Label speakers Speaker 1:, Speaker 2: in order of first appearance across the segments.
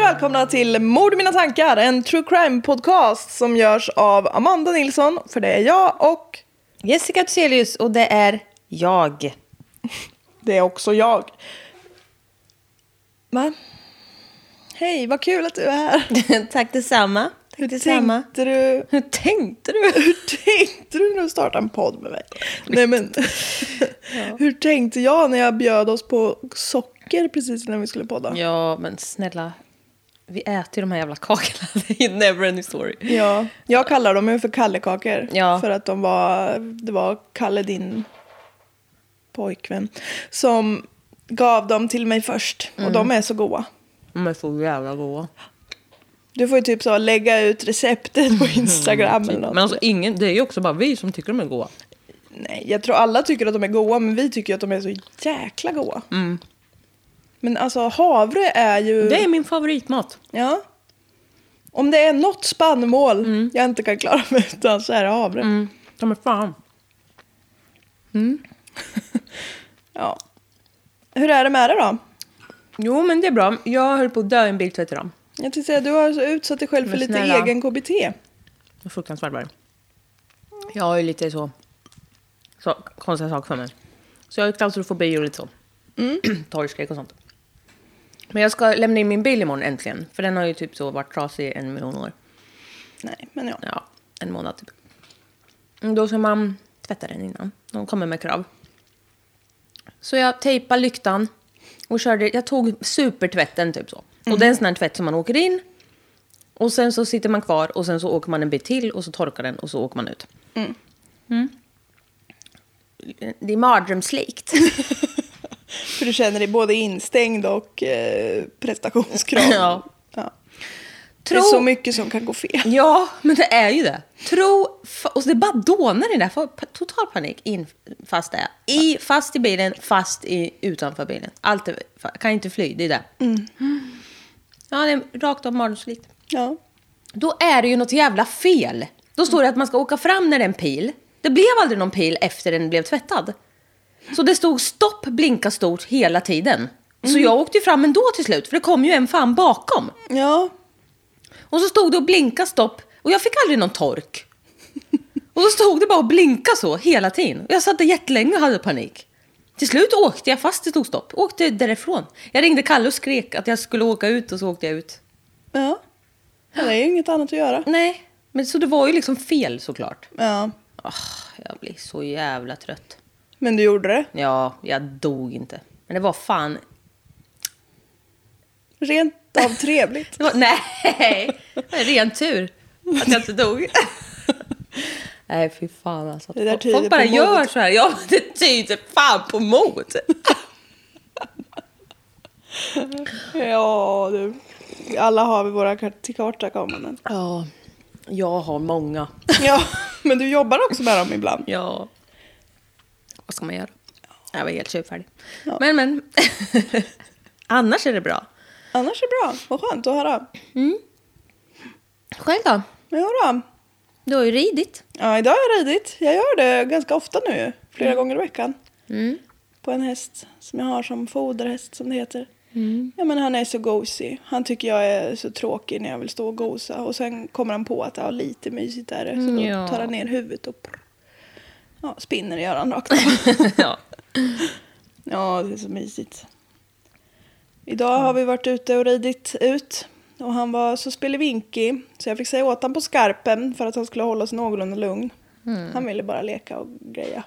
Speaker 1: välkomna till Mord i mina tankar, en true crime-podcast som görs av Amanda Nilsson, för det är jag, och
Speaker 2: Jessica Thyselius och det är jag.
Speaker 1: det är också jag. Va? Hej, vad kul att du är här.
Speaker 2: Tack detsamma.
Speaker 1: Hur
Speaker 2: Tack detsamma.
Speaker 1: tänkte du?
Speaker 2: Hur tänkte du?
Speaker 1: Hur tänkte du när du startade en podd med mig? Nej, men, hur tänkte jag när jag bjöd oss på socker precis innan vi skulle podda?
Speaker 2: Ja, men snälla. Vi äter ju de här jävla kakorna. Det är ju never ending story.
Speaker 1: Ja, jag kallar dem ju för kallekakor.
Speaker 2: Ja.
Speaker 1: För att de var, det var Kalle, din pojkvän, som gav dem till mig först.
Speaker 2: Mm.
Speaker 1: Och de är så goda.
Speaker 2: De är så jävla goda.
Speaker 1: Du får ju typ så lägga ut receptet på Instagram eller något.
Speaker 2: Mm, Men alltså ingen, det är ju också bara vi som tycker de är goda.
Speaker 1: Nej, jag tror alla tycker att de är goda, men vi tycker ju att de är så jäkla goda.
Speaker 2: Mm.
Speaker 1: Men alltså havre är ju...
Speaker 2: Det är min favoritmat.
Speaker 1: Ja. Om det är något spannmål jag inte kan klara mig utan så är det havre.
Speaker 2: Mm. De är fan.
Speaker 1: Ja. Hur är det med det då?
Speaker 2: Jo, men det är bra. Jag höll på att dö i en biltvätt idag.
Speaker 1: Jag tänkte säga, du har alltså utsatt dig själv för
Speaker 2: Men
Speaker 1: lite
Speaker 2: snälla.
Speaker 1: egen KBT.
Speaker 2: Det var Fruktansvärt var det. Jag har ju lite så, så konstiga saker för mig. Så jag har klaustrofobi och lite så. Mm. Torgskräck och sånt. Men jag ska lämna in min bil imorgon äntligen. För den har ju typ så varit trasig en miljon år.
Speaker 1: Nej, men ja.
Speaker 2: Ja, en månad typ. Mm, Då ska man tvätta den innan. De kommer med krav. Så jag tejpade lyktan och körde. Jag tog supertvätten typ så. Och
Speaker 1: Mm.
Speaker 2: det är en sån här tvätt som man åker in. Och sen så sitter man kvar och sen så åker man en bit till och så torkar den och så åker man ut. Mm. Det är mardrömslikt.
Speaker 1: För du känner dig både instängd och eh, prestationskrav.
Speaker 2: Ja.
Speaker 1: Ja. Det är
Speaker 2: Tro-
Speaker 1: så mycket som kan gå fel.
Speaker 2: Ja, men det är ju det. Tro, fa- och det bara dånar i det. Fa- pa- Total panik. In, fast är jag. I, fast i bilen, fast i, utanför bilen. Allt är, fa- kan inte fly, det är det. Mm. Ja, det är rakt av mardrömslikt.
Speaker 1: Ja.
Speaker 2: Då är det ju något jävla fel. Då står det att man ska åka fram när det är en pil. Det blev aldrig någon pil efter den blev tvättad. Så det stod stopp, blinka stort hela tiden. Så jag åkte ju fram ändå till slut, för det kom ju en fan bakom.
Speaker 1: Ja.
Speaker 2: Och så stod det och blinka stopp och jag fick aldrig någon tork. Och så stod det bara och blinka så hela tiden. Och jag satt där jättelänge och hade panik. Till slut åkte jag fast det stod stopp. Åkte därifrån. Jag ringde Kalle och skrek att jag skulle åka ut och så åkte jag ut.
Speaker 1: ja. Ja, Det är ju inget annat att göra.
Speaker 2: Nej, men så det var ju liksom fel såklart.
Speaker 1: Ja.
Speaker 2: Ah, jag blir så jävla trött.
Speaker 1: Men du gjorde det.
Speaker 2: Ja, jag dog inte. Men det var fan...
Speaker 1: Rent av trevligt.
Speaker 2: Det var... Nej! Det var ren tur att jag inte dog. Nej, fy fan alltså.
Speaker 1: Det där
Speaker 2: Folk-
Speaker 1: tyder
Speaker 2: Folk bara
Speaker 1: på mod.
Speaker 2: gör så här. Ja, men det tyder fan på mod.
Speaker 1: Ja, du. Alla har vi våra kar- tillkortakommanden.
Speaker 2: Ja, jag har många.
Speaker 1: Ja, men du jobbar också med dem ibland.
Speaker 2: Ja. Vad ska man göra? Jag var helt tjurfärdig.
Speaker 1: Ja.
Speaker 2: Men, men. Annars är det bra.
Speaker 1: Annars är det bra. Vad skönt att höra.
Speaker 2: Själv då?
Speaker 1: Men jodå.
Speaker 2: Du har ju ridit.
Speaker 1: Ja, idag har jag ridit. Jag gör det ganska ofta nu ju. Flera gånger i veckan.
Speaker 2: Mm.
Speaker 1: På en häst som jag har som foderhäst som det heter. Ja men han är så gosig. Han tycker jag är så tråkig när jag vill stå och gosa. Och sen kommer han på att ja, lite mysigt är det. Så då
Speaker 2: Ja.
Speaker 1: tar han ner huvudet och prr. ja, spinner gör han rakt av.
Speaker 2: ja.
Speaker 1: Ja, det är så mysigt. Idag har vi varit ute och ridit ut. Och han var så spelevinkig så jag fick säga åt honom på skarpen för att han skulle hålla sig någorlunda lugn.
Speaker 2: Mm.
Speaker 1: Han ville bara leka och greja.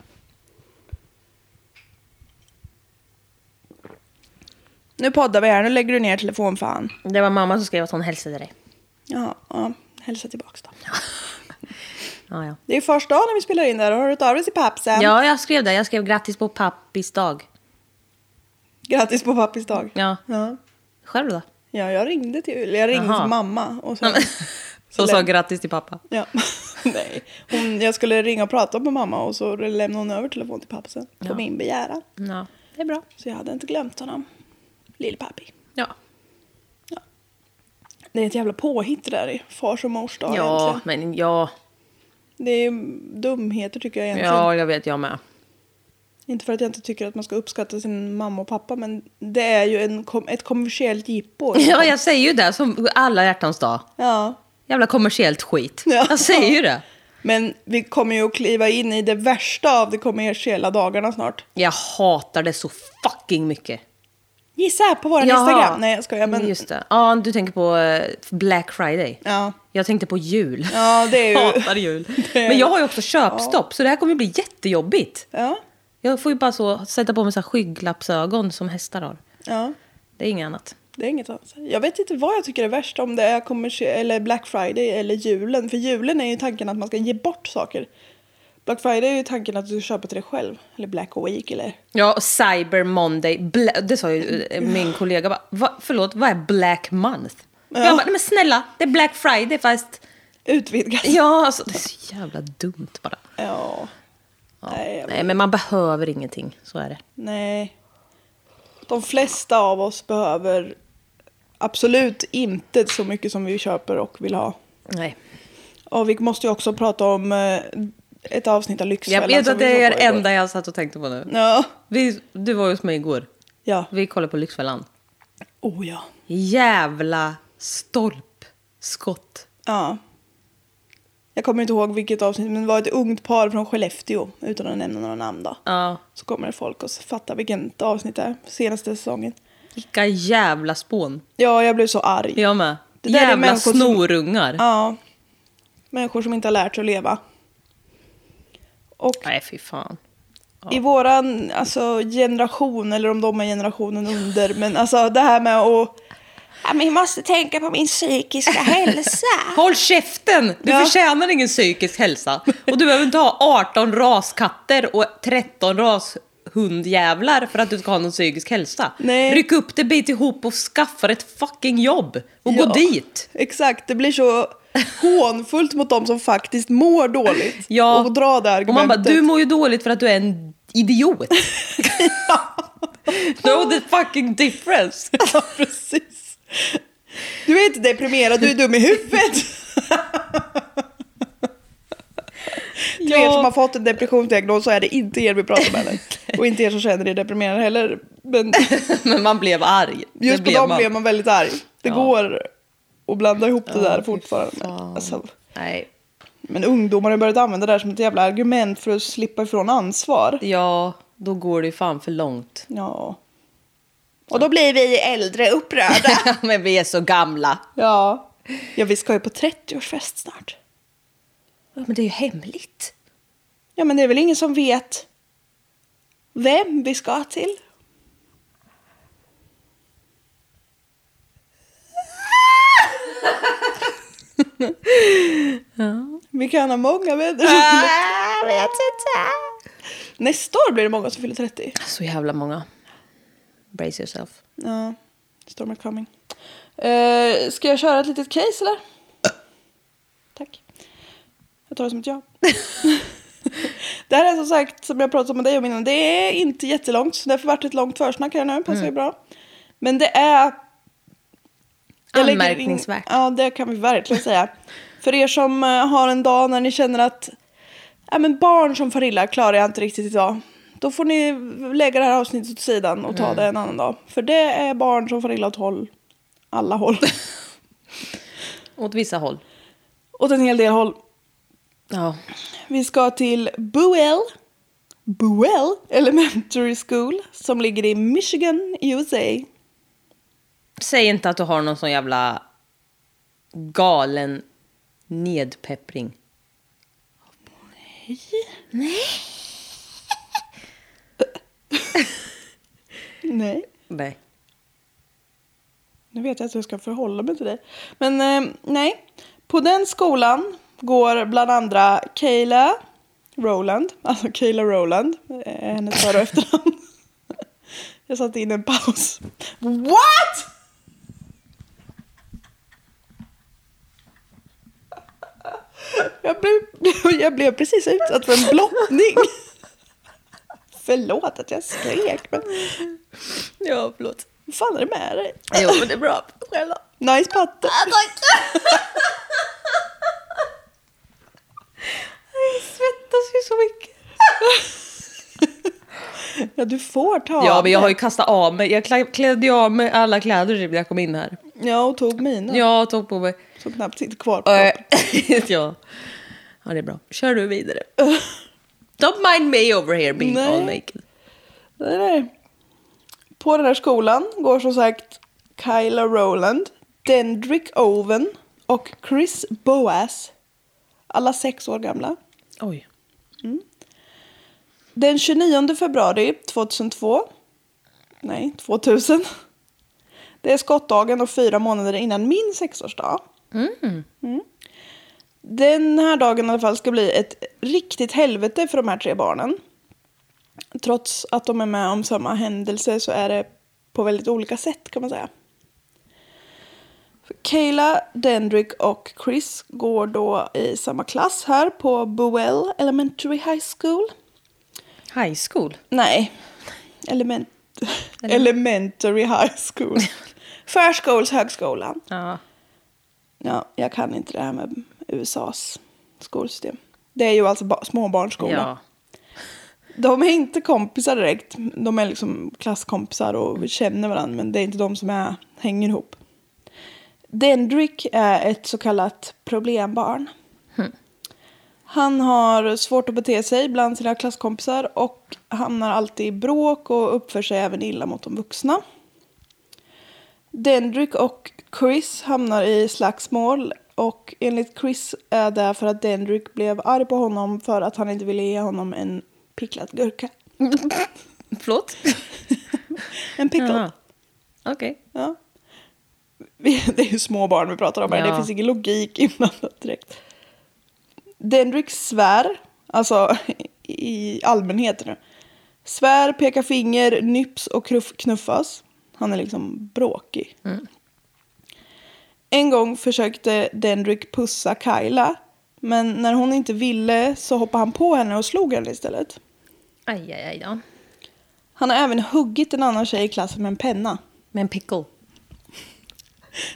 Speaker 1: Nu poddar vi här, nu lägger du ner telefonfan.
Speaker 2: Det var mamma som skrev att hon hälsade dig.
Speaker 1: Ja, ja, hälsa tillbaks då.
Speaker 2: Ja, ja.
Speaker 1: Det är första dagen när vi spelar in där och har du hört av dig till pappsen?
Speaker 2: ja, jag skrev det. Jag skrev grattis på pappis dag.
Speaker 1: Grattis på pappis dag.
Speaker 2: Ja.
Speaker 1: Ja.
Speaker 2: Själv då?
Speaker 1: Ja, jag ringde till, jag ringde
Speaker 2: Jaha.
Speaker 1: till mamma och så
Speaker 2: Så sa grattis till pappa.
Speaker 1: Ja. Nej. Hon, jag skulle ringa och prata med mamma och så lämnade hon över telefonen till pappa sen. På
Speaker 2: Ja.
Speaker 1: min begäran.
Speaker 2: Ja, det är bra.
Speaker 1: Så jag hade inte glömt honom. Lill-pappi.
Speaker 2: Ja,
Speaker 1: Det är ett jävla påhitt det där i fars och mors dag
Speaker 2: ja
Speaker 1: egentligen.
Speaker 2: men ja.
Speaker 1: Det är ju dumheter tycker jag egentligen.
Speaker 2: Ja, jag vet jag med.
Speaker 1: Inte för att jag inte tycker att man ska uppskatta sin mamma och pappa, men det är ju en, kom- ett kommersiellt jippo.
Speaker 2: Ja, jag säger ju det som alla hjärtans dag.
Speaker 1: Ja.
Speaker 2: Jävla kommersiellt skit.
Speaker 1: Ja.
Speaker 2: Jag säger ju det.
Speaker 1: Men vi kommer ju att kliva in i det värsta av de kommersiella dagarna snart.
Speaker 2: Jag hatar det så fucking mycket.
Speaker 1: Gissa på vår
Speaker 2: Jaha.
Speaker 1: Instagram. Nej, jag skojar. Men,
Speaker 2: Just det. Ja, du tänker på eh, Black Friday.
Speaker 1: ja.
Speaker 2: Jag tänkte på jul.
Speaker 1: Ja, det är ju-
Speaker 2: Hatar jul.
Speaker 1: Det är-
Speaker 2: Men jag har ju också köpstopp, så det här kommer ju bli jättejobbigt.
Speaker 1: Ja.
Speaker 2: Jag får ju bara så sätta på mig så här skygglappsögon som hästar har.
Speaker 1: ja.
Speaker 2: Det är inget annat.
Speaker 1: Det är inget annat. Jag vet inte vad jag tycker är värst, om det är kommersie- eller Black Friday eller julen. För julen är ju tanken att man ska ge bort saker. Black Friday är ju tanken att du ska köpa till dig själv. Eller Black Week eller...
Speaker 2: Ja, och Cyber Monday. Bla- det sa ju eh, min kollega. Bara, Va, förlåt, vad är Black Month? Jag bara, "Nej, men snälla, det är Black Friday fast...
Speaker 1: Utvidgas.
Speaker 2: Ja, alltså det är så jävla dumt bara.
Speaker 1: Ja. Nej, jag vet-
Speaker 2: Nej, men man behöver ingenting. Så är det.
Speaker 1: Nej. De flesta av oss behöver absolut inte så mycket som vi köper och vill ha.
Speaker 2: Nej.
Speaker 1: Och vi måste ju också prata om eh, ett avsnitt av Lyxfällan.
Speaker 2: Jag vet
Speaker 1: som
Speaker 2: att
Speaker 1: vi
Speaker 2: det
Speaker 1: såg
Speaker 2: är
Speaker 1: på
Speaker 2: det
Speaker 1: igår.
Speaker 2: enda jag satt och tänkte på nu.
Speaker 1: Ja.
Speaker 2: Vi, du var ju hos mig igår.
Speaker 1: Ja.
Speaker 2: Vi kollade på Lyxfällan.
Speaker 1: Oh ja.
Speaker 2: Jävla stolpskott.
Speaker 1: Ja. Jag kommer inte ihåg vilket avsnitt, men det var ett ungt par från Skellefteå, utan att nämna några namn då.
Speaker 2: Ja.
Speaker 1: Så kommer det folk och fattar vilket avsnitt det är, senaste säsongen.
Speaker 2: Vilka jävla spån.
Speaker 1: Ja, jag blev så arg.
Speaker 2: Jag med.
Speaker 1: Det där är
Speaker 2: jävla
Speaker 1: människor som-
Speaker 2: snorungar.
Speaker 1: Ja. Människor som inte har lärt sig att leva. Och
Speaker 2: Nej, fy fan.
Speaker 1: i våran alltså, generation, eller om de är generationen under, men alltså det här med att... Ja, men jag måste tänka på min psykiska hälsa.
Speaker 2: Ah. Håll käften! Du
Speaker 1: Ja.
Speaker 2: förtjänar ingen psykisk hälsa. Och du behöver inte ha 18 raskatter och 13 rashundjävlar för att du ska ha någon psykisk hälsa.
Speaker 1: Nej.
Speaker 2: Ryck upp det, bit ihop och skaffa dig ett fucking jobb. Och
Speaker 1: Ja.
Speaker 2: gå dit.
Speaker 1: Exakt, det blir så hånfullt mot de som faktiskt mår dåligt.
Speaker 2: Ja.
Speaker 1: Och dra det argumentet.
Speaker 2: Och man bara, du mår ju dåligt för att du är en idiot. no the fucking difference.
Speaker 1: Ja, precis. Du är inte deprimerad, du är dum i huvudet. Till er som har fått en depressionsdiagnos så är det inte er vi pratar med. eller? Och inte er som känner er deprimerade heller. Men
Speaker 2: Men man blev arg. Det
Speaker 1: just på
Speaker 2: blev
Speaker 1: dem blev man väldigt arg. Det
Speaker 2: Ja.
Speaker 1: går att blanda ihop det där
Speaker 2: fy
Speaker 1: fortfarande.
Speaker 2: fan.
Speaker 1: Alltså,
Speaker 2: Nej.
Speaker 1: men ungdomar har börjat använda det där som ett jävla argument för att slippa ifrån ansvar.
Speaker 2: Ja, då går det ju fan för långt.
Speaker 1: Ja. Och då blir vi äldre upprörda.
Speaker 2: Men vi är så gamla.
Speaker 1: ja. Ja, vi ska ju på 30-årsfest snart.
Speaker 2: Ja, men det är ju hemligt.
Speaker 1: Ja, men det är väl ingen som vet vem vi ska till? Vi kan ha många vänner. Äh.
Speaker 2: Ah, vet inte.
Speaker 1: Nästa år blir det många som fyller 30.
Speaker 2: Så jävla många. Brace yourself.
Speaker 1: Ja, storm are coming. Eh, ska jag köra ett litet case eller? Tack. Jag tar det som ett ja. det här är som sagt, som jag pratade med dig om innan, det är inte jättelångt. Så därför vart det ett långt försnack här nu, passar ju bra. Men det är... jag lägger in-
Speaker 2: Anmärkningsvärt.
Speaker 1: Ja, det kan vi verkligen säga. För er som eh, har en dag när ni känner att ja, men barn som far illa klarar jag inte riktigt idag. Då får ni lägga det här avsnittet åt sidan och ta det en annan dag. För det är barn som far illa åt håll. Alla håll.
Speaker 2: Åt vissa håll.
Speaker 1: åt en hel del håll.
Speaker 2: Ja.
Speaker 1: Vi ska till Buell. Buell Elementary School som ligger i Michigan, USA.
Speaker 2: Säg inte att du har någon sån jävla galen nedpeppring.
Speaker 1: Nej.
Speaker 2: Nej.
Speaker 1: Nu vet jag inte hur jag ska förhålla mig till dig. Men eh, nej, på den skolan går bland andra Kayla Rowland. Alltså Kayla Rowland eh, är hennes för och efternamn. Jag satte in en paus. What? Jag blev, jag blev precis utsatt för en blottning. Förlåt att jag skrek, men
Speaker 2: Ja, förlåt.
Speaker 1: vad fan är det med dig?
Speaker 2: Jo, men det är bra. Själv då? Ah,
Speaker 1: Nice patte.
Speaker 2: Jag svettas ju så mycket.
Speaker 1: Ja, du får ta
Speaker 2: Ja,
Speaker 1: av
Speaker 2: men jag har ju
Speaker 1: dig.
Speaker 2: kastat av mig. Jag klä- klädde ju av mig alla kläder typ när jag kom in här.
Speaker 1: Ja, och tog mina.
Speaker 2: Jag tog på mig.
Speaker 1: Som knappt sitter kvar på
Speaker 2: Eh,
Speaker 1: kroppen.
Speaker 2: ja. ja, det är bra. Kör du vidare. Don't mind me over here being
Speaker 1: Nej.
Speaker 2: all naked.
Speaker 1: Nej, nej. På den här skolan går som sagt Kyla Rowland, Dendrick Owen och Chris Boas. Alla sex år gamla.
Speaker 2: Oj.
Speaker 1: Den 29 februari 2002. Nej, 2000. Det är skottdagen och fyra månader innan min sexårsdag. Mm. Den här dagen i alla fall ska bli ett riktigt helvete för de här tre barnen. Trots att de är med om samma händelse så är det på väldigt olika sätt kan man säga. Kayla, Dendrick och Chris går då i samma klass här på Buell Elementary High School.
Speaker 2: High school.
Speaker 1: Nej. Element Elementary High School. Förskolshögskolan.
Speaker 2: Ja.
Speaker 1: Ja, jag kan inte det här med USAs skolsystem. Det är ju alltså ba- småbarnsskola.
Speaker 2: ja.
Speaker 1: De är inte kompisar direkt. De är liksom klasskompisar och känner varandra. Men det är inte de som är, hänger ihop. Dendrick är ett så kallat problembarn. Han har svårt att bete sig bland sina klasskompisar och hamnar alltid i bråk och uppför sig även illa mot de vuxna. Dendrick och Chris hamnar i slagsmål och enligt Chris är det för att Dendrick blev arg på honom för att han inte ville ge honom en picklad gurka.
Speaker 2: Förlåt?
Speaker 1: En pickle.
Speaker 2: Jaha. Okej.
Speaker 1: Ja. Vi- Det är ju små barn vi pratar om här. Det
Speaker 2: Ja.
Speaker 1: finns ingen logik inblandat direkt. Dendrick svär, alltså i allmänhet nu. Svär, pekar finger, nyps och kruff- knuffas. Han är liksom bråkig. En gång försökte Dendrick pussa Kyla. Men när hon inte ville så hoppade han på henne och slog henne istället.
Speaker 2: Aj, aj, aj då.
Speaker 1: Han har även huggit en annan tjej i klassen med en penna.
Speaker 2: Men pickle.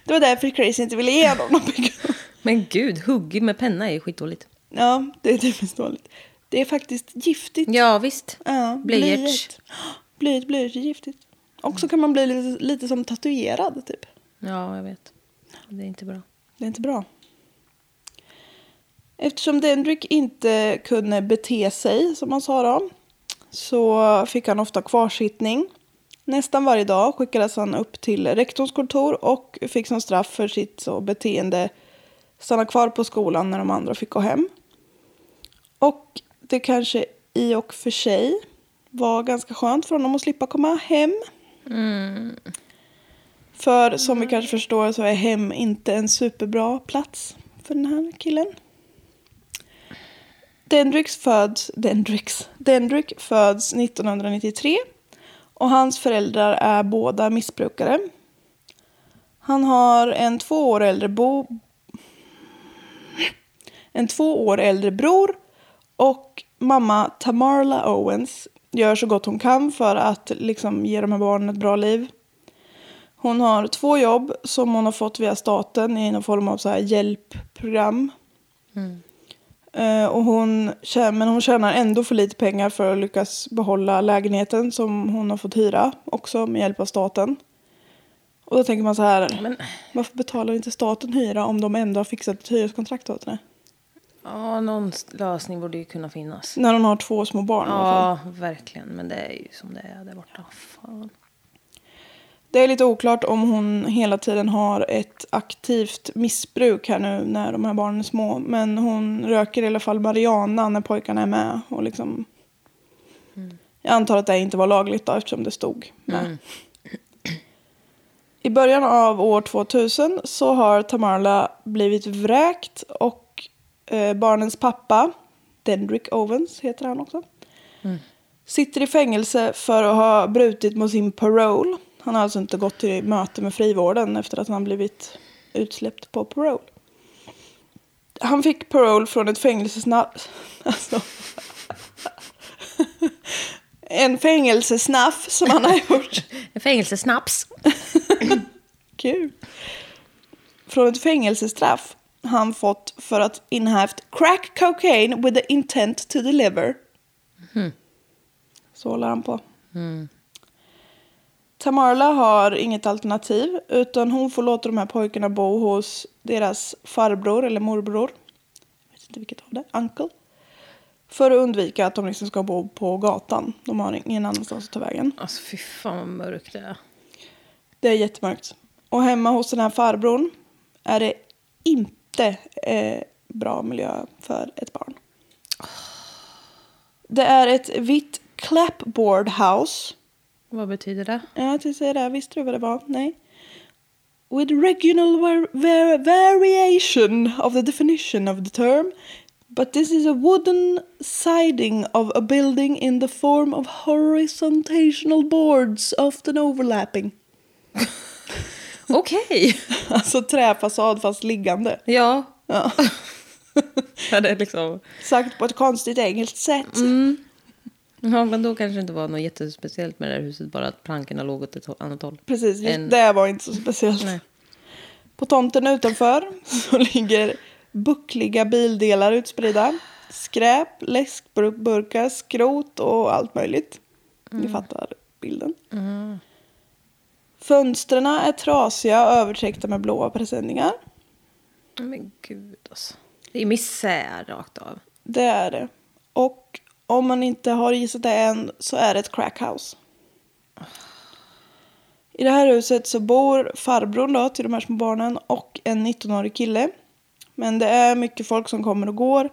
Speaker 1: Det var därför Chris inte ville ge honom någon pickle.
Speaker 2: Men gud, huggig med penna är ju skitdåligt.
Speaker 1: Ja, det är typiskt dåligt. Det är faktiskt giftigt.
Speaker 2: Ja, visst.
Speaker 1: Ja,
Speaker 2: Blyerts.
Speaker 1: Blyerts, blyerts är giftigt. Och så kan man bli lite, lite som tatuerad typ.
Speaker 2: Ja, jag vet. Det är inte bra.
Speaker 1: Det är inte bra. Eftersom Dendrick inte kunde bete sig, som han sa då, så fick han ofta kvarsittning. Nästan varje dag skickades han upp till rektorns kontor och fick som straff för sitt så beteende stanna kvar på skolan när de andra fick gå hem. Och det kanske i och för sig var ganska skönt för honom att slippa komma hem. För som vi kanske förstår så är hem inte en superbra plats för den här killen. Dendrix föds, Dendrix, Dendrick föds 1993 och hans föräldrar är båda missbrukare. Han har en två år äldre bo... En två år äldre bror och mamma Tamarla Owens gör så gott hon kan för att liksom ge de här barnen ett bra liv. Hon har två jobb som hon har fått via staten i någon form av så här hjälpprogram. Eh, och hon, tjä- men hon tjänar ändå för lite pengar för att lyckas behålla lägenheten som hon har fått hyra också med hjälp av staten. Och då tänker man så här,
Speaker 2: Men-
Speaker 1: varför betalar inte staten hyra om de ändå har fixat ett hyreskontrakt åt henne?
Speaker 2: Ja, någon lösning borde ju kunna finnas.
Speaker 1: När hon har två små barn i alla fall.
Speaker 2: Ja, verkligen. Men det är ju som det är där borta. Fan.
Speaker 1: Det är lite oklart om hon hela tiden har ett aktivt missbruk här nu när de här barnen är små. Men hon röker i alla fall marijuana när pojkarna är med. Och liksom... Jag antar att det inte var lagligt då eftersom det stod med.
Speaker 2: Mm.
Speaker 1: I början av år 2000 så har Tamarla blivit vräkt och eh, barnens pappa, Dendrick Owens heter han också, Sitter i fängelse för att ha brutit mot sin parole. Han har alltså inte gått till möte med frivården efter att han blivit utsläppt på parole. Han fick parole från ett fängelsesnaff... Alltså. En fängelsesnaff som han har gjort.
Speaker 2: En Fängelsesnaps.
Speaker 1: Kul. Från ett fängelsestraff han fått för att inhaft crack cocaine with the intent to deliver. Så håller han på.
Speaker 2: Mm.
Speaker 1: Tamarla har inget alternativ utan hon får låta de här pojkarna bo hos deras farbror eller morbror. Jag vet inte vilket av det. Uncle. För att undvika att de liksom ska bo på gatan. De har ingen annanstans att ta vägen.
Speaker 2: Alltså fy fan vad mörkt det är.
Speaker 1: Det är jättemörkt. Och hemma hos den här farbrorn är det inte eh, bra miljö för ett barn. Det är ett vitt clapboard house.
Speaker 2: Vad betyder det?
Speaker 1: Ja, jag tänkte säga det. här. Visste du vad det var? Nej. With regional var- var- variation of the definition of the term. But this is a wooden siding of a building in the form of horizontal boards, often overlapping.
Speaker 2: Okej.
Speaker 1: Alltså träfasad fast liggande.
Speaker 2: ja.
Speaker 1: Ja.
Speaker 2: ja. Det är liksom...
Speaker 1: Sagt på ett konstigt engelskt sätt.
Speaker 2: Mm. Ja, men då kanske det inte var något jättespeciellt med det här huset. Bara att plankorna låg åt ett annat håll.
Speaker 1: Precis, just
Speaker 2: En-
Speaker 1: det var inte så speciellt.
Speaker 2: Nej.
Speaker 1: På tomten utanför så ligger buckliga bildelar utspridda. Skräp, läskburkar, skrot och allt möjligt.
Speaker 2: Mm.
Speaker 1: Ni fattar bilden. Fönstren är trasiga och övertäckta med blåa presenningar.
Speaker 2: Men gud alltså. Det är misär rakt av.
Speaker 1: Det är det. Och om man inte har gissat det än så är det ett crackhouse. I det här huset så bor farbrorn då till de här små barnen och en 19-årig kille. Men det är mycket folk som kommer och går.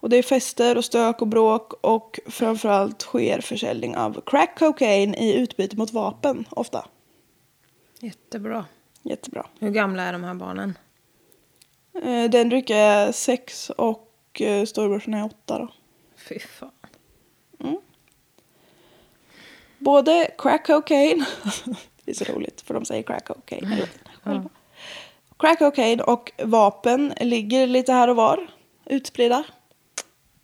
Speaker 1: Och det är fester och stök och bråk och framförallt sker försäljning av crack cocaine i utbyte mot vapen ofta.
Speaker 2: Jättebra.
Speaker 1: Jättebra.
Speaker 2: Hur gamla är de här barnen?
Speaker 1: Eh, Den drycker är sex och eh, storebrorsan är åtta då.
Speaker 2: Fy fan.
Speaker 1: Både crack cocaine, det är så roligt för de säger crack cocaine
Speaker 2: Mm.
Speaker 1: hela tiden själva. Crack cocaine och vapen ligger lite här och var, utspridda.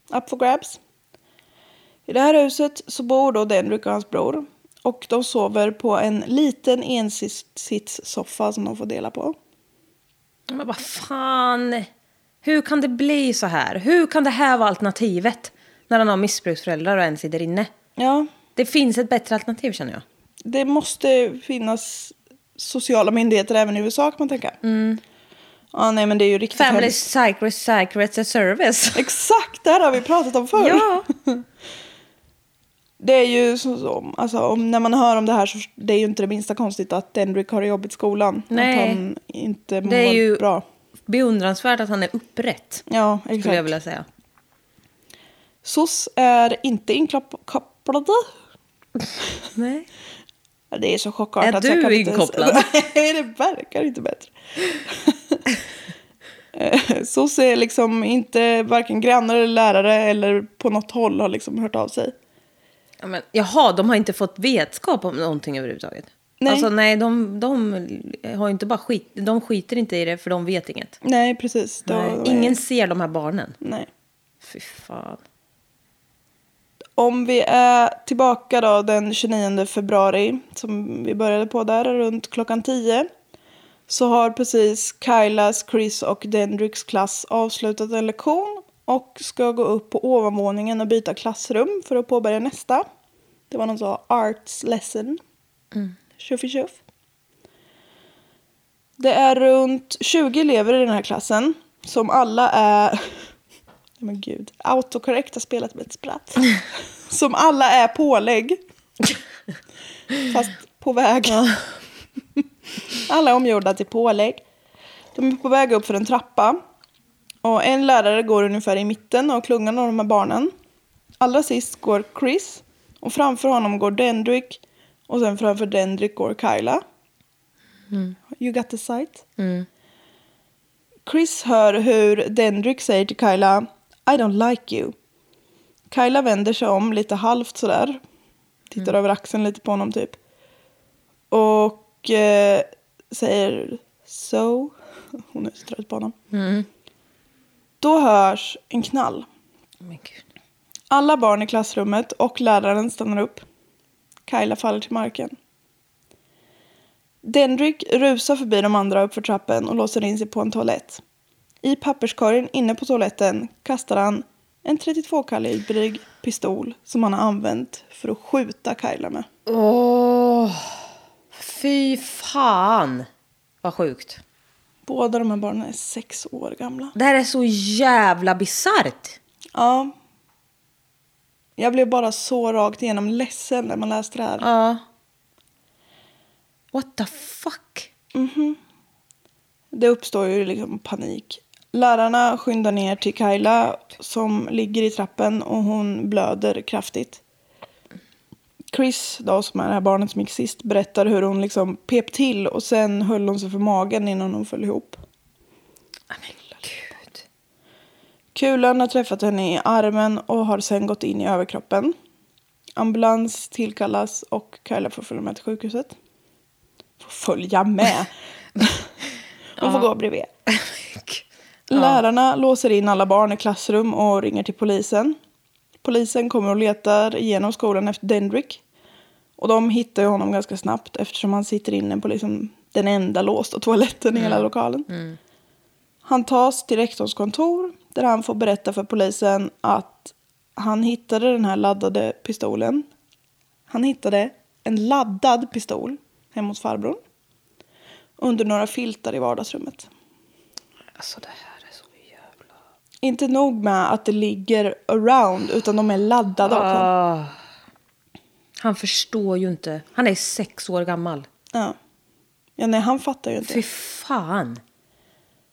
Speaker 1: Up for grabs. I det här huset så bor då Denrick och hans bror. Och de sover på en liten ensitssoffa som de får dela på.
Speaker 2: Men vad fan. Hur kan det bli så här? Hur kan det här vara alternativet? När han har missbruksföräldrar och en sitter inne.
Speaker 1: Ja,
Speaker 2: Det finns ett bättre alternativ känner jag.
Speaker 1: det måste finnas sociala myndigheter även i USA kan man tänka.
Speaker 2: Mm.
Speaker 1: Ja, nej men det är ju riktigt
Speaker 2: Family
Speaker 1: hemskt.
Speaker 2: Secret Secret Service.
Speaker 1: Exakt, det här har vi pratat om förr.
Speaker 2: Ja.
Speaker 1: Det är ju så, så, alltså, om, när man hör om det här så det är ju inte det minsta konstigt att Dendrick har det jobbigt i skolan.
Speaker 2: Nej.
Speaker 1: Att han inte mår
Speaker 2: Det är ju
Speaker 1: bra.
Speaker 2: beundransvärt att han är upprätt.
Speaker 1: Ja,
Speaker 2: Skulle jag
Speaker 1: exakt.
Speaker 2: vilja säga.
Speaker 1: SOS är inte inkopplade.
Speaker 2: Nej.
Speaker 1: Det är så chockartat.
Speaker 2: Är
Speaker 1: så jag
Speaker 2: du
Speaker 1: kan inte ens-
Speaker 2: inkopplad?
Speaker 1: Nej, det verkar inte bättre. Eh, SOS är liksom inte varken grannar eller lärare eller på något håll har liksom hört av sig.
Speaker 2: Ja, men, jaha, de har inte fått vetskap om någonting överhuvudtaget.
Speaker 1: Nej.
Speaker 2: Nej. Alltså nej, de, de har ju inte bara skit, de skiter inte i det för de vet inget.
Speaker 1: Nej, precis. Det
Speaker 2: Nej.
Speaker 1: var-
Speaker 2: Ingen ser de här barnen.
Speaker 1: Nej.
Speaker 2: Fy fan.
Speaker 1: Om vi är tillbaka då den 29 februari som vi började på där runt klockan 10 så har precis Kylas, Chris och Dendricks klass avslutat en lektion och ska gå upp på ovanvåningen och byta klassrum för att påbörja nästa. Det var någon sån arts lesson. Tjuff i tjuff. Det är runt 20 elever i den här klassen som alla är... Nej, Men gud, autocorrect har spelat med ett spratt. Som alla är pålägg. Fast på väg. Alla är omgjorda till pålägg. De är på väg upp för en trappa. Och en lärare går ungefär i mitten och klungan av de här barnen. Allra sist går Chris. Och framför honom går Dendrick. Och sen framför Dendrick går Kyla. You got the sight.
Speaker 2: Mm.
Speaker 1: Chris hör hur Dendrick säger till Kyla I don't like you. Kyla vänder sig om lite halvt sådär. Tittar över axeln lite på honom typ. Och eh, säger so. Hon är så trött på honom.
Speaker 2: Mm.
Speaker 1: Då hörs en knall.
Speaker 2: Men gud.
Speaker 1: Alla barn i klassrummet och läraren stannar upp. Kyla faller till marken. Dendrick rusar förbi de andra uppför trappen och låser in sig på en toalett. I papperskorgen inne på toaletten kastar han En 32-kalibrig pistol som han har använt för att skjuta Kyla med.
Speaker 2: Åh! fy fan vad sjukt.
Speaker 1: Båda de här barnen är sex år gamla.
Speaker 2: Det här är så jävla bisarrt.
Speaker 1: Ja. Jag blev bara så rakt igenom ledsen när man läste det här.
Speaker 2: Ja. What the fuck?
Speaker 1: Det uppstår ju liksom panik. Lärarna skyndar ner till Kyla som ligger i trappen och hon blöder kraftigt. Chris, då, som är det här barnet som gick sist, berättar hur hon liksom pep till och sen höll hon sig för magen innan hon föll ihop.
Speaker 2: Nej, men gud.
Speaker 1: Kulan har träffat henne i armen och har sen gått in i överkroppen. Ambulans tillkallas och Kyla får följa med till sjukhuset. Får följa med? Hon får gå bredvid. Lärarna låser in alla barn i klassrum och ringer till polisen. Polisen kommer och letar igenom skolan efter Dendrick. Och de hittar ju honom ganska snabbt eftersom han sitter inne på liksom den enda låsta toaletten i hela lokalen. Han tas till rektorns kontor där han får berätta för polisen att han hittade den här laddade pistolen. Han hittade en laddad pistol hemma hos farbrorn under några filtar i vardagsrummet.
Speaker 2: Alltså det här är så jävla...
Speaker 1: Inte nog med att det ligger around, utan de är laddade också.
Speaker 2: Ah. Han förstår ju inte. Han är sex år gammal.
Speaker 1: Ja. ja, nej, han fattar ju inte.
Speaker 2: Fy fan.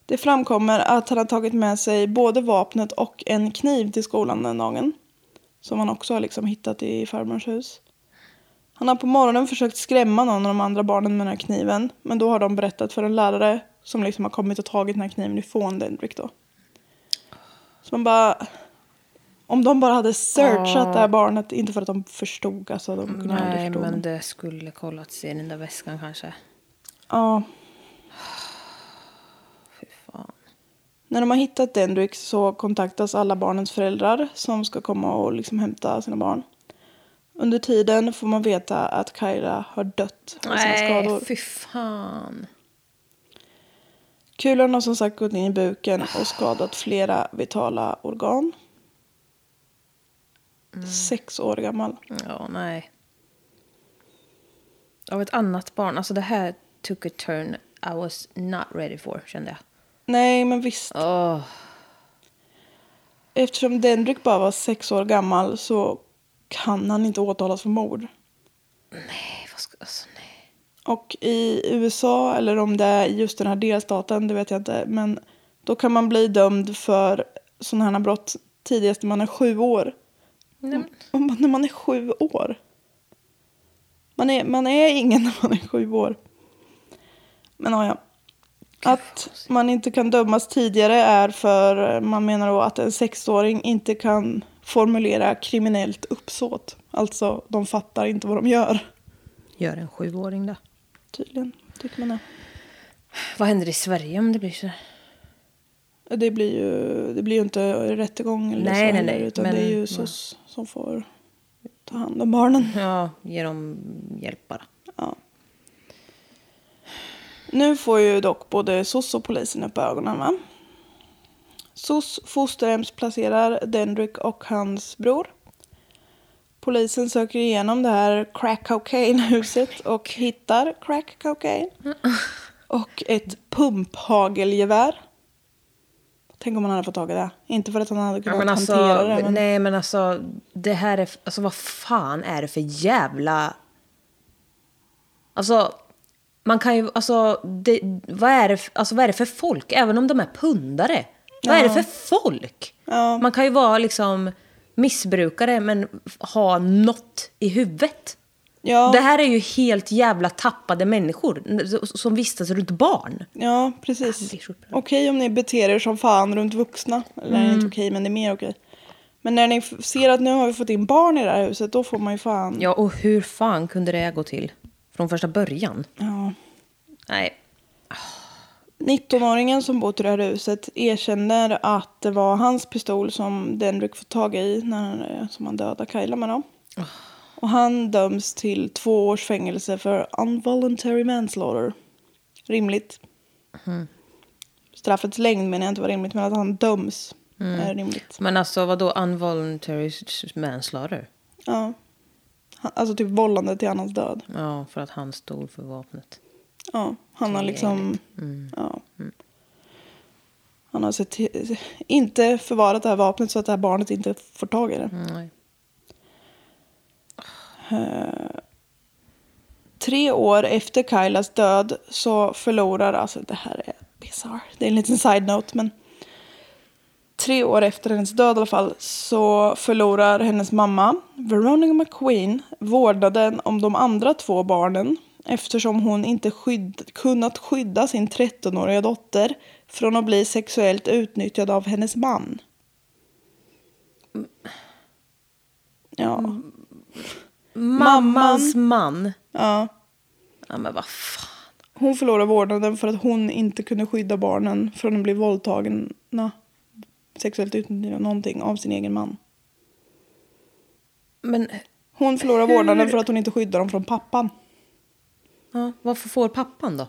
Speaker 1: Det framkommer att han har tagit med sig både vapnet och en kniv till skolan den dagen. Som han också har liksom hittat i farmors hus. Han har på morgonen försökt skrämma någon av de andra barnen med den här kniven. Men då har de berättat för en lärare som liksom har kommit och tagit den här kniven ifrån Dendrick då. Så man bara... Om de bara hade searchat det här barnet, inte för att de förstod, alltså de kunde aldrig
Speaker 2: Nej,
Speaker 1: förstå.
Speaker 2: men
Speaker 1: men-
Speaker 2: det skulle kollats i den där väskan kanske.
Speaker 1: Ja.
Speaker 2: Fy fan.
Speaker 1: När de har hittat Dendrick så kontaktas alla barnens föräldrar som ska komma och liksom hämta sina barn. Under tiden får man veta att Kyra har dött av sina skador.
Speaker 2: Nej, fy fan.
Speaker 1: Kulan har som sagt gått in i buken och skadat flera vitala organ.
Speaker 2: Mm.
Speaker 1: Sex år gammal.
Speaker 2: Ja, nej. Av ett annat barn. Alltså det här took a turn I was not ready for, kände jag.
Speaker 1: Nej, men visst.
Speaker 2: Åh.
Speaker 1: Eftersom Dendrick bara var sex år gammal så kan han inte åtalas för mord.
Speaker 2: Nej, vad ska... Alltså, nej.
Speaker 1: Och i USA, eller om det är i just den här delstaten, det vet jag inte. Men då kan man bli dömd för sådana här brott tidigast när man är sju år.
Speaker 2: nej men,
Speaker 1: Och man- när man är sju år? Man är, man är ingen när man är sju år. Men ja, ja. Att man inte kan dömas tidigare är för man menar då att en sexåring inte kan formulera kriminellt uppsåt. Alltså, de fattar inte vad de gör.
Speaker 2: gör en sjuåring då.
Speaker 1: Tydligen, tycker man det.
Speaker 2: Vad händer i Sverige om det blir så?
Speaker 1: Det blir ju, det blir ju inte rättegång eller
Speaker 2: Nej,
Speaker 1: så
Speaker 2: nej,
Speaker 1: heller,
Speaker 2: nej,
Speaker 1: utan
Speaker 2: men-
Speaker 1: det är ju SOS som får ta hand om barnen.
Speaker 2: Ja, ge dem hjälp bara.
Speaker 1: Ja. Nu får ju dock både SOS och polisen upp ögonen va? SOS fosterhemsplacerar Dendrick och hans bror. Polisen söker igenom det här crack cocaine-huset och hittar crack cocaine. Och ett pumphagelgevär. Tänk om han hade fått tag i det. Inte för att han hade kunnat
Speaker 2: men alltså,
Speaker 1: hantera det. Men...
Speaker 2: Nej, men alltså, det här är... Alltså, vad fan är det för jävla... Alltså, man kan ju... Alltså, det, vad, är det, för- alltså vad är det för folk? Även om de är pundare. Vad är det för folk?
Speaker 1: Ja.
Speaker 2: Man kan ju vara liksom missbrukare, men ha något i huvudet.
Speaker 1: Ja,
Speaker 2: Det här är ju helt jävla tappade människor n- som vistas runt barn.
Speaker 1: Ja,
Speaker 2: Jag
Speaker 1: precis.
Speaker 2: blir så
Speaker 1: Okej
Speaker 2: upprörd.
Speaker 1: om ni beter er som fan runt vuxna. Eller det är inte okej, men det är mer okej. Men när ni f- ser att nu har vi fått in barn i det här huset, då får man ju fan...
Speaker 2: Ja, och hur fan kunde det gå till från första början?
Speaker 1: Ja.
Speaker 2: Nej,
Speaker 1: 19-åringen som bott i det här huset erkänner att det var hans pistol som Dendrick fått tag i när han, som han dödade Kyla med. Då. Och han döms till två års fängelse för involuntary manslaughter. Rimligt. Straffets längd menar jag inte var rimligt, men att han döms. är rimligt.
Speaker 2: Men alltså vad då involuntary manslaughter?
Speaker 1: Ja. Han- Alltså typ vållande till annans död.
Speaker 2: Ja, för att han stod för vapnet. Mm.
Speaker 1: Ja, han har liksom... Ja. Han har sett, inte förvarat det här vapnet så att det här barnet inte får tag i det.
Speaker 2: Nej.
Speaker 1: Tre år efter Kailas död så förlorar, alltså det här är bizarr, det är en liten side-note men tre år efter hennes död i alla fall så förlorar hennes mamma Veronica McQueen vårdnaden om de andra två barnen eftersom hon inte skydd, kunnat skydda sin 13-åriga dotter från att bli sexuellt utnyttjad av hennes man. Ja,
Speaker 2: Mammans man.
Speaker 1: ja.
Speaker 2: Ja, men vad fan.
Speaker 1: Hon förlorade vårdnaden för att hon inte kunde skydda barnen från att bli våldtagna, sexuellt utnyttjade någonting av sin egen man.
Speaker 2: Men
Speaker 1: Hon förlorar vårdnaden för att hon inte skyddar dem från pappan.
Speaker 2: ja, varför får pappan då?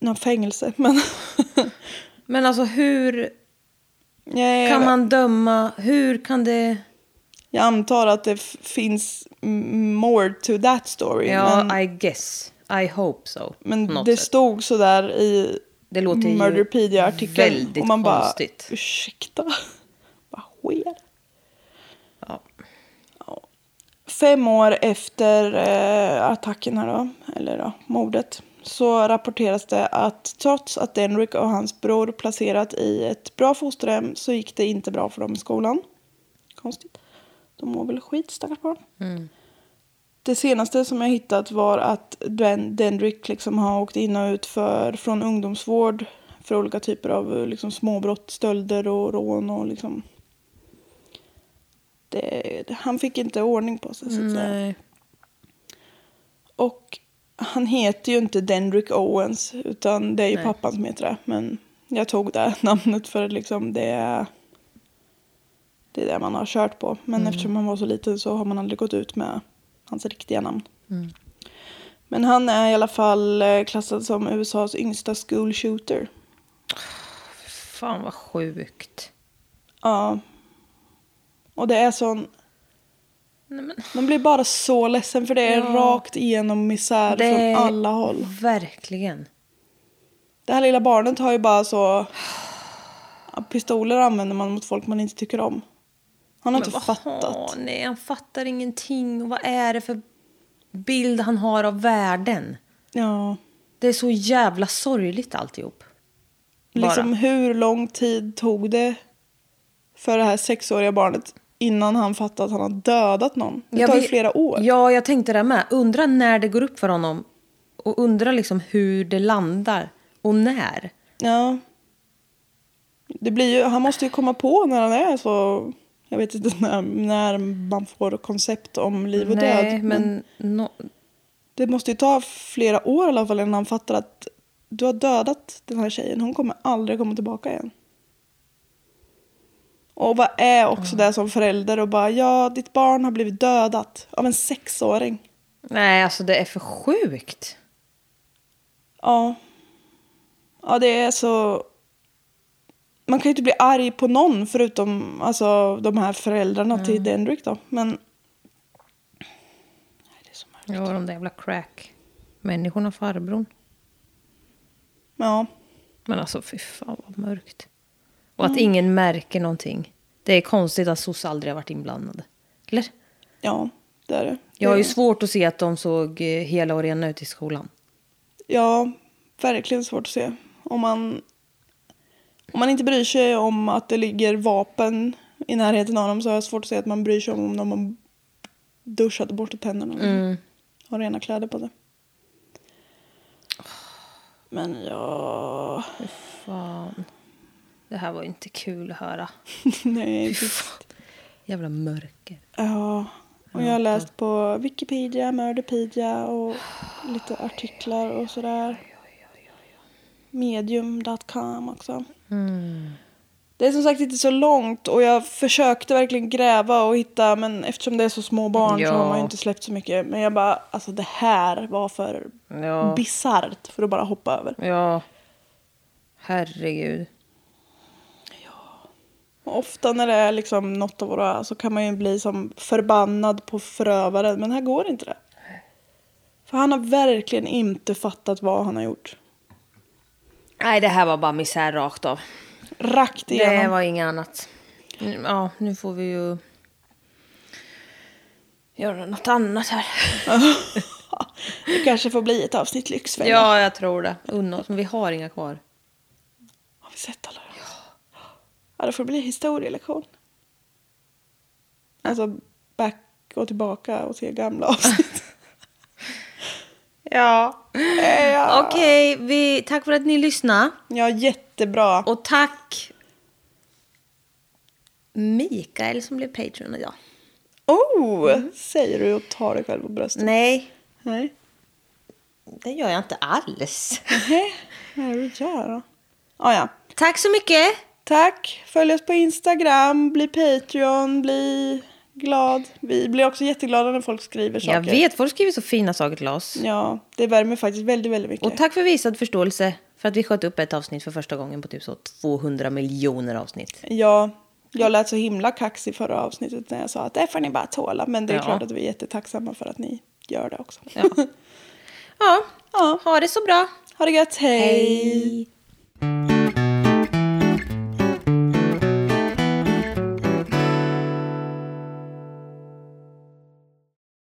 Speaker 1: Nå, fängelse, men...
Speaker 2: Men alltså hur
Speaker 1: Nej,
Speaker 2: kan man döma? Hur kan det...
Speaker 1: Jag antar att det f- finns m- more to that story.
Speaker 2: Ja,
Speaker 1: men
Speaker 2: I guess. I hope so. på
Speaker 1: men
Speaker 2: något
Speaker 1: det
Speaker 2: sätt.
Speaker 1: stod så där i
Speaker 2: Det låter ju
Speaker 1: Murderpedia-artikeln.
Speaker 2: väldigt
Speaker 1: och man bara,
Speaker 2: konstigt.
Speaker 1: ursäkta? Vad sker?
Speaker 2: Ja.
Speaker 1: Fem år efter eh, attacken här då, eller då, mordet, så rapporteras det att trots att Denrick och hans bror placerat i ett bra fosterhem så gick det inte bra för dem i skolan. Konstigt. De mår väl skit, stackars barn. Det senaste som jag hittat var att Ben Dendrick liksom har åkt in och ut för, från ungdomsvård för olika typer av eh, liksom, småbrott, stölder och rån och liksom... Det, han fick inte ordning på sig så att säga.
Speaker 2: Nej.
Speaker 1: Och han heter ju inte Dendrick Owens utan det är ju pappan som heter det. Men jag tog det namnet för liksom det är det, är det man har kört på. Men
Speaker 2: Mm.
Speaker 1: eftersom han var så liten så har man aldrig gått ut med hans riktiga namn.
Speaker 2: Mm.
Speaker 1: Men han är i alla fall eh, klassad som USAs yngsta school shooter.
Speaker 2: Fan vad sjukt.
Speaker 1: Ja. Och det är sån...
Speaker 2: Nej, men-
Speaker 1: Man blir bara så ledsen för det är
Speaker 2: Ja.
Speaker 1: rakt igenom misär
Speaker 2: Det-
Speaker 1: från alla håll.
Speaker 2: Verkligen.
Speaker 1: Det här lilla barnet har ju bara så... Pistoler använder man mot folk man inte tycker om. Han har
Speaker 2: Men
Speaker 1: inte
Speaker 2: vad-
Speaker 1: fattat.
Speaker 2: Åh, nej, han fattar ingenting. Och Vad är det för bild han har av världen?
Speaker 1: Ja.
Speaker 2: Det är så jävla sorgligt alltihop. Bara.
Speaker 1: Liksom hur lång tid tog det för det här sexåriga barnet innan han fattade att han har dödat någon? Det
Speaker 2: Jag
Speaker 1: tar ju
Speaker 2: vet-
Speaker 1: flera år.
Speaker 2: Ja, jag tänkte det med. Undra när det går upp för honom. Och undra liksom hur det landar. Och när.
Speaker 1: Ja. Det blir ju, han måste ju komma på när han är så... Jag vet inte när, när man får koncept om liv och
Speaker 2: nej,
Speaker 1: död.
Speaker 2: men... nå-
Speaker 1: Det måste ju ta flera år i alla fall innan han fattar att du har dödat den här tjejen. Hon kommer aldrig komma tillbaka igen. Och vad är också det som förälder och bara ja, ditt barn har blivit dödat av en sexåring.
Speaker 2: Nej, alltså det är för sjukt.
Speaker 1: Ja. Ja, det är så... Man kan ju inte bli arg på någon förutom alltså, de här föräldrarna till Dendrick då. Men... Nej, det är så mörkt.
Speaker 2: Ja, de där jävla crack-människorna, farbrorn.
Speaker 1: Ja.
Speaker 2: Men alltså fy fan vad mörkt. Och att ingen märker någonting. Det är konstigt att sossar aldrig har varit inblandade. Eller?
Speaker 1: Ja, det är det.
Speaker 2: Jag har ju
Speaker 1: Det-
Speaker 2: svårt att se att de såg eh, hela och rena ut i skolan.
Speaker 1: Ja, verkligen svårt att se. Om man, om man inte bryr sig om att det ligger vapen i närheten av dem så har jag svårt att se att man bryr sig om om de har duschat och borstat tänderna. Mm. Har rena kläder på det. Men ja...
Speaker 2: Fan. Det här var ju inte kul att höra.
Speaker 1: Nej,
Speaker 2: Fy
Speaker 1: det-
Speaker 2: fan. Jävla mörker.
Speaker 1: Ja. Och jag har läst på Wikipedia, Murderpedia och lite artiklar och sådär. Medium.com också.
Speaker 2: Mm.
Speaker 1: Det är som sagt inte så långt och jag försökte verkligen gräva och hitta men eftersom det är så små barn så
Speaker 2: Ja.
Speaker 1: har man ju inte släppt så mycket. Men jag bara, alltså det här var för
Speaker 2: Ja.
Speaker 1: bisarrt för att bara hoppa över.
Speaker 2: Ja. Herregud.
Speaker 1: Och ofta när det är liksom något av våra så kan man ju bli som förbannad på förövaren. Men här går inte det. För han har verkligen inte fattat vad han har gjort.
Speaker 2: Nej, det här var bara misär rakt av.
Speaker 1: Rakt
Speaker 2: Det
Speaker 1: igenom.
Speaker 2: var inget annat. Mm, Ja, nu får vi ju göra något annat här.
Speaker 1: Det kanske får bli ett avsnitt Lyxfällan.
Speaker 2: Ja, jag tror det. Unna oss, men vi har inga kvar.
Speaker 1: Har vi sett alla dem? Ja. det får bli historielektion. Alltså back, gå tillbaka och se gamla avsnitt.
Speaker 2: Ja.
Speaker 1: Eh, ja.
Speaker 2: Okej, vi, tack för att ni lyssnade.
Speaker 1: ja, jättebra.
Speaker 2: Och tack Mikael som blev Patreon idag.
Speaker 1: Oh, säger du och tar dig själv på bröstet.
Speaker 2: Mm. Nej,
Speaker 1: Nej.
Speaker 2: det gör jag inte alls.
Speaker 1: Nej. Vad är det du gör då? Ah, ja.
Speaker 2: Tack så mycket.
Speaker 1: Tack. Följ oss på Instagram, bli Patreon, bli glad. Vi blir också jätteglada när folk skriver saker.
Speaker 2: Jag vet, folk skriver så fina saker till oss.
Speaker 1: Ja, det värmer faktiskt väldigt, väldigt mycket.
Speaker 2: Och tack för visad förståelse för att vi sköt upp ett avsnitt för första gången på typ så 200 miljoner avsnitt.
Speaker 1: Ja, jag lät så himla kaxig förra avsnittet när jag sa att det får ni bara tåla. Men det är
Speaker 2: Ja.
Speaker 1: klart att vi är jättetacksamma för att ni gör det också.
Speaker 2: Ja. Ja, ha det så bra.
Speaker 1: Ha det gött, hej.
Speaker 2: Hej.